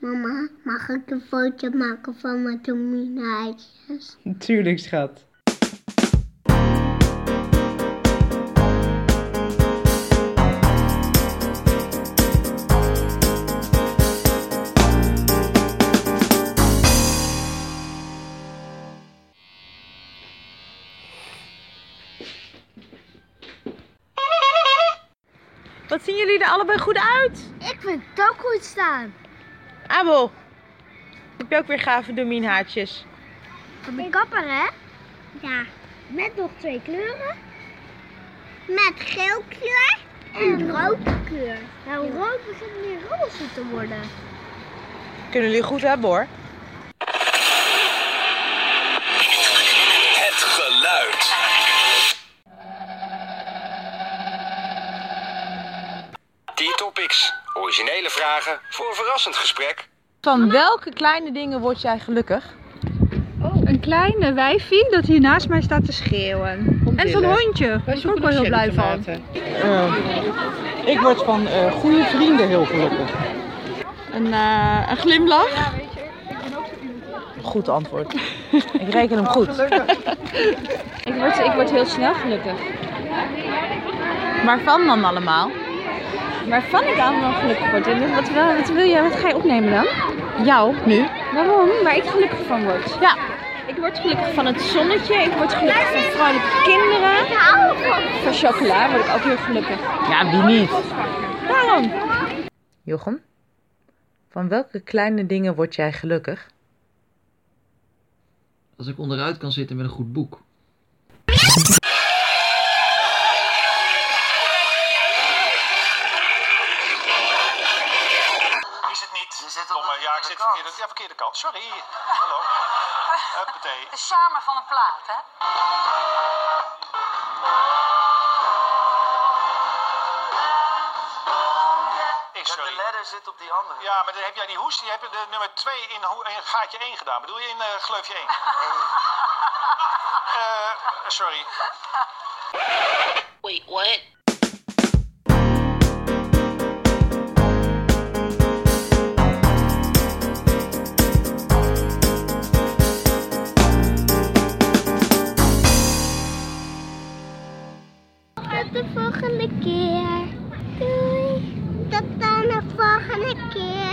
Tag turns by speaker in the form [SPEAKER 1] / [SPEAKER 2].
[SPEAKER 1] Mama, mag ik een foto maken van mijn domino-eitjes?
[SPEAKER 2] Natuurlijk, schat. Wat zien jullie er allebei goed uit?
[SPEAKER 1] Ik vind het ook goed staan.
[SPEAKER 2] Abel, heb je ook weer gave dominhaartjes?
[SPEAKER 1] Van de kapper, hè? Ja. Met nog twee kleuren. Met geel kleur en rood kleur. Nou, rood begint meer roze te worden.
[SPEAKER 2] Kunnen jullie goed hebben hoor.
[SPEAKER 3] Het geluid. T-Topics. Originele vragen voor een verrassend gesprek.
[SPEAKER 2] Van welke kleine dingen word jij gelukkig?
[SPEAKER 4] Een kleine wijfie dat hier naast mij staat te schreeuwen. En zo'n hondje. Daar ben ik ook wel heel blij van.
[SPEAKER 2] Ehm, ik word van eh, goede vrienden heel gelukkig.
[SPEAKER 4] Een, eh, een glimlach.
[SPEAKER 2] Goed antwoord. ik reken hem goed.
[SPEAKER 4] Ik word, ik word heel snel gelukkig.
[SPEAKER 2] Waarvan dan allemaal?
[SPEAKER 4] Waarvan ik allemaal gelukkig word. En wat, wil- wat wil jij? Wat ga je opnemen dan?
[SPEAKER 2] Jou, nu.
[SPEAKER 4] Waarom? Waar ik gelukkig van word.
[SPEAKER 2] Ja.
[SPEAKER 4] Ik word gelukkig van het zonnetje. Ik word gelukkig van vrolijke kinderen. Van chocola word ik ook heel gelukkig.
[SPEAKER 2] Ja, wie niet?
[SPEAKER 4] Waarom?
[SPEAKER 2] Jochem, van welke kleine dingen word jij gelukkig?
[SPEAKER 5] Als ik onderuit kan zitten met een goed boek.
[SPEAKER 6] Is het niet? Domme, ja, ik zit verkeerde, ja, verkeerde kant. Sorry. Hallo. Huppatee.
[SPEAKER 7] De charme van een plaat, hè?
[SPEAKER 6] Ik, sorry.
[SPEAKER 3] zit op die andere.
[SPEAKER 6] Ja, maar dan heb jij die hoest. Die heb je de nummer 2 in, hoe- in gaatje 1 gedaan. Bedoel je in eh, gleufje 1? Eh, sorry.
[SPEAKER 7] Wait, what?
[SPEAKER 1] Tot de volgende keer. Doei. Tot dan de volgende keer.